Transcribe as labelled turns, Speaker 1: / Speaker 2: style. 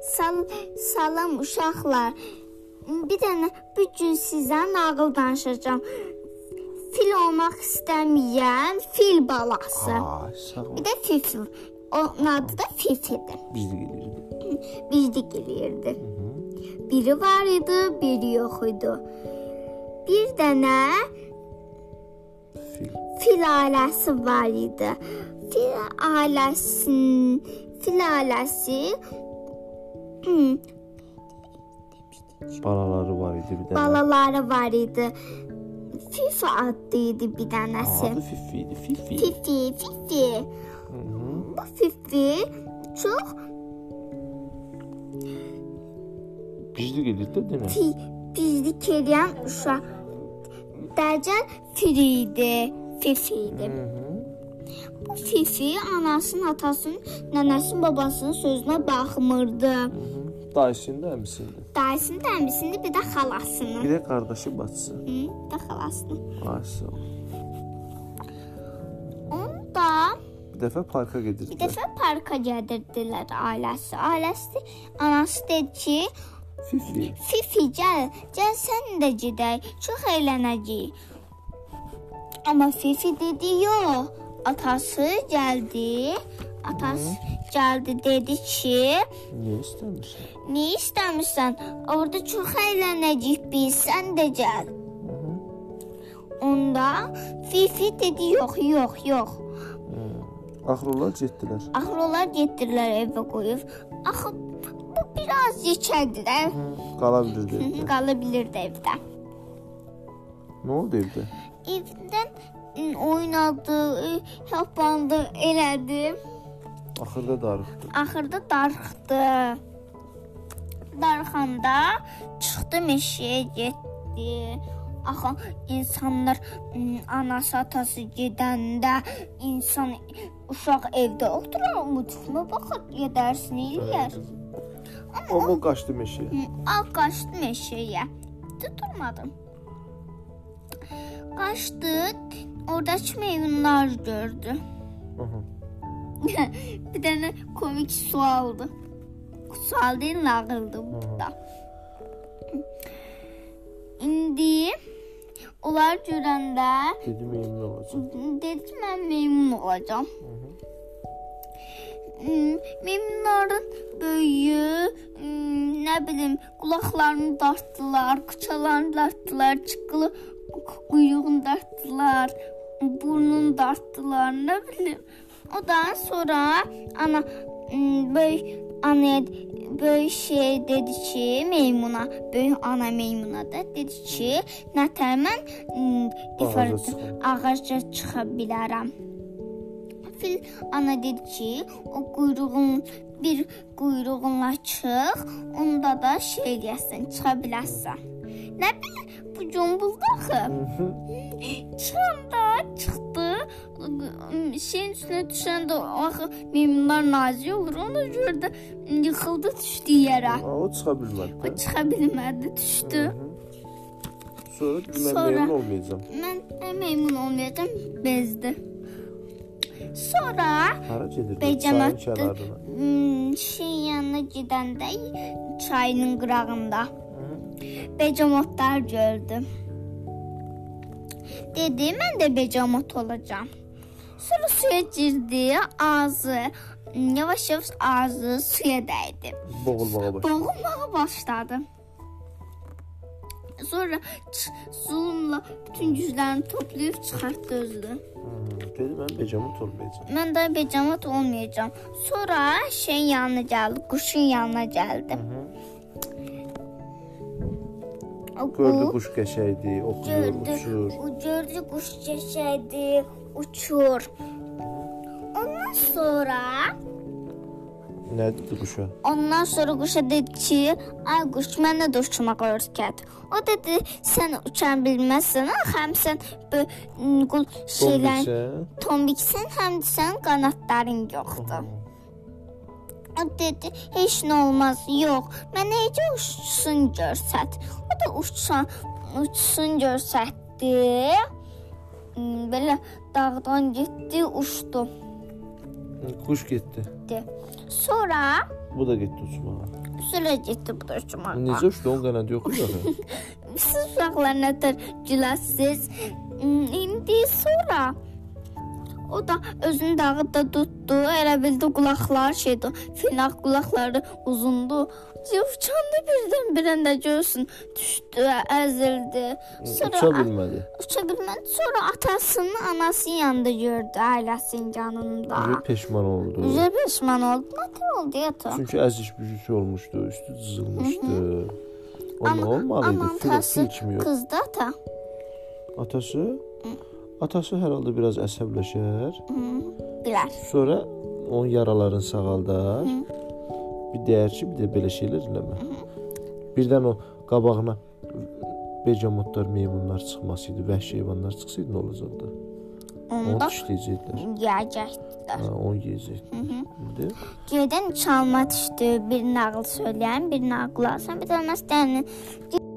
Speaker 1: Sal salam uşaqlar. Bir dənə bu gün sizə nağıl danışacağam. Fil olmaq istəməyən fil balası.
Speaker 2: Ay sağ ol.
Speaker 1: Bir də fifil. Onun adı da Fifi'dir.
Speaker 2: Biz də gedirik.
Speaker 1: Bir dik eləyirdi. Biri var idi, biri yox idi. Bir dənə
Speaker 2: Fil.
Speaker 1: fil ailəsi var idi. Fil ailəsinin fil ailəsi hmm,
Speaker 2: Balaları var idi bir dənə.
Speaker 1: balaları var idi. Fifi adlı idi bir
Speaker 2: Adı
Speaker 1: tanesi.
Speaker 2: Fifi idi. Fifi.
Speaker 1: Fifi, Fifi. Bu Fifi çok
Speaker 2: Biz də gedirik də demə.
Speaker 1: pi, bizlik eləyən uşaq. Dəcəl Firi idi, Fifi idi. Bu Fifi anasının, atasının, nənəsinin, babasının sözünə baxmırdı.
Speaker 2: Dayısında, əmisində.
Speaker 1: Dayısının, dəmisinin, bir də
Speaker 2: Bir
Speaker 1: xalasının.
Speaker 2: də qardaşı bacısı.
Speaker 1: Hı, Bir də xalasının.
Speaker 2: Ay sağ ol.
Speaker 1: Onu da
Speaker 2: Bir dəfə parka
Speaker 1: Bir
Speaker 2: gedirdilər.
Speaker 1: dəfə parka gedirdilər ailəsi. Ailəsi anası dedi ki,
Speaker 2: Fifi.
Speaker 1: "Fifi gəl, gəl sən də gedək. Çox əylənəcəyik." Amma Fifi dedi, "Yox." Atası gəldi. Atası gəldi dedi ki,
Speaker 2: Niyə istəmirsən?
Speaker 1: "Nə istəmirsən? Orda çox əylənəcəyik biz. Sən də gəl." Onda Fifi dedi, "Yox, yox, yox."
Speaker 2: Axırlar getdilər.
Speaker 1: Axı onlar getdilər evə qoyub. Axı bu biraz yekəldilər.
Speaker 2: Qala bilirdi evdə.
Speaker 1: Qala bilirdi evdə.
Speaker 2: Nə oldu evdə?
Speaker 1: Evdən ı, oynadı, ı, hoppandı, elədi.
Speaker 2: Axırda darıxdı.
Speaker 1: Axırda darıxdı. Darıxanda çıxdı meşəyə getdi. Axı insanlar ı, anası atası gedəndə insan uşaq evdə oturur, mutfuma baxır, gedərsin, eləyər.
Speaker 2: Amma qaçdı meşəyə.
Speaker 1: Al qaçdı meşəyə. Tuturmadım. Qaçdı, oradakı meyvunlar gördü.
Speaker 2: Aha.
Speaker 1: Bir dənə komik sualdı. Sual deyil, nağıldı bu da. İndi onlar görəndə
Speaker 2: Dedim emin olacaq.
Speaker 1: dedi ki, mən meymun olacağam. Hmm, Meymunların böyüyü, hmm, nə bilim, qulaqlarını dartdılar, qıçalarını dartdılar, çıqqılı q- quyruğunu dartdılar, burnunu dartdılar, nə bilim. Ondan sonra ana hmm, böyük anaya böyük şey dedi ki, meymuna, böyük ana meymuna da dedi ki, nətər mən hmm,
Speaker 2: Ağaca
Speaker 1: different
Speaker 2: çıxın.
Speaker 1: ağaca çıxa bilərəm. Fil ana dedi ki, o quyruğun bir quyruğunla çıx, onda da şey eləyəsən, çıxa bilərsən. Nə bilir, bu cumbuldu axı. Çıxanda çıxdı, ıı, şeyin üstünə düşəndə axı meymunlar nazik olur, ona görə də yıxıldı düşdü yerə.
Speaker 2: Aa, o çıxa bilmədi.
Speaker 1: O
Speaker 2: də.
Speaker 1: çıxa bilmədi, düşdü.
Speaker 2: Sonra dedi, mən
Speaker 1: Sonra-
Speaker 2: emin olmayacağam.
Speaker 1: Mən mən meymun olmayacam, bezdi. Sonra
Speaker 2: Hara gedirdi? Çayın
Speaker 1: Beycəmətdə
Speaker 2: kənarına.
Speaker 1: Hmm, şeyin yanına gedəndə çayının qırağında becamotlar gördüm. Dedi, mən də becamot olacağam. Sonra suya girdi, ağzı yavaş-yavaş ağzı suya dəydi.
Speaker 2: Boğulmağa başladı.
Speaker 1: Boğulmağa başladı. Sonra ç- zulmla bütün güclərini toplayıb çıxartdı özünü.
Speaker 2: Hmm, Dedi, mən becamut olmayacağam.
Speaker 1: Mən də becamat olmayacağam. Sonra şeyin yanına gəldi, quşun yanına gəldi. O
Speaker 2: Gördü
Speaker 1: quş
Speaker 2: quş qəşəydi, oxuyur,
Speaker 1: gördü,
Speaker 2: uçur.
Speaker 1: o gördü quş keçədi, uçur. Ondan sonra,
Speaker 2: Nə dedi quşa?
Speaker 1: ondan sonra quşa dedi ki, ay quş mənə də uçmağı öyrət. O dedi, sən uçan bilməzsən, ha, həm sən bu qul şeylər
Speaker 2: Bombiksə,
Speaker 1: tombiksən, həm də sənin qanadların yoxdur. O dedi, heç nə olmaz, yox. Mənə necə uçsun görsət. O da uçsan, uçsun görsətdi. Hmm, Belə dağdan getdi, uçdu.
Speaker 2: Quş getdi.
Speaker 1: Sonra
Speaker 2: Bu da getdi uçmağa.
Speaker 1: sürəcəkdi bu daşımağa.
Speaker 2: Necə uçdu o qanad yox idi axı.
Speaker 1: Siz uşaqlar nətər güləsiz? Hmm, İndi sonra o da özünü dağıda tutdu. Elə bildi qulaqları şeydi. Fil qulaqları uzundu. Uçanda birdən birən də görsün düşdü, əzildi.
Speaker 2: Hmm, Uça bilmədi.
Speaker 1: uça bilmədi. Sonra atasını, anasının yanında gördü, ailəsinin yanında.
Speaker 2: Üzü peşman oldu.
Speaker 1: Üzə peşman oldu. Nə oldu yata?
Speaker 2: Çünkü əzik bücüsü olmuştu. Üstü cızılmıştı. Onunla olmalıydı.
Speaker 1: Aman
Speaker 2: Filo su
Speaker 1: tası
Speaker 2: içmiyor.
Speaker 1: qızdı ata.
Speaker 2: Atası? Atası herhalde biraz əsəbləşər.
Speaker 1: Bilər.
Speaker 2: Sonra onun yaraların sağaldar. Bir dəyər ki, bir də belə şeylər eləmə. Birdən o qabağına becamotlar, meymunlar çıxması idi, vəhşi heyvanlar çıxsaydı nə olacaqdı? Onu
Speaker 1: Onda
Speaker 2: dişləyəcəkdilər.
Speaker 1: yeyəcəkdilər.
Speaker 2: Ha, onu yeyəcəkdilər. İndi
Speaker 1: Gedən çalma düşdü, bir nağıl söyləyən, bir nağıl alsan, bir dənə dənin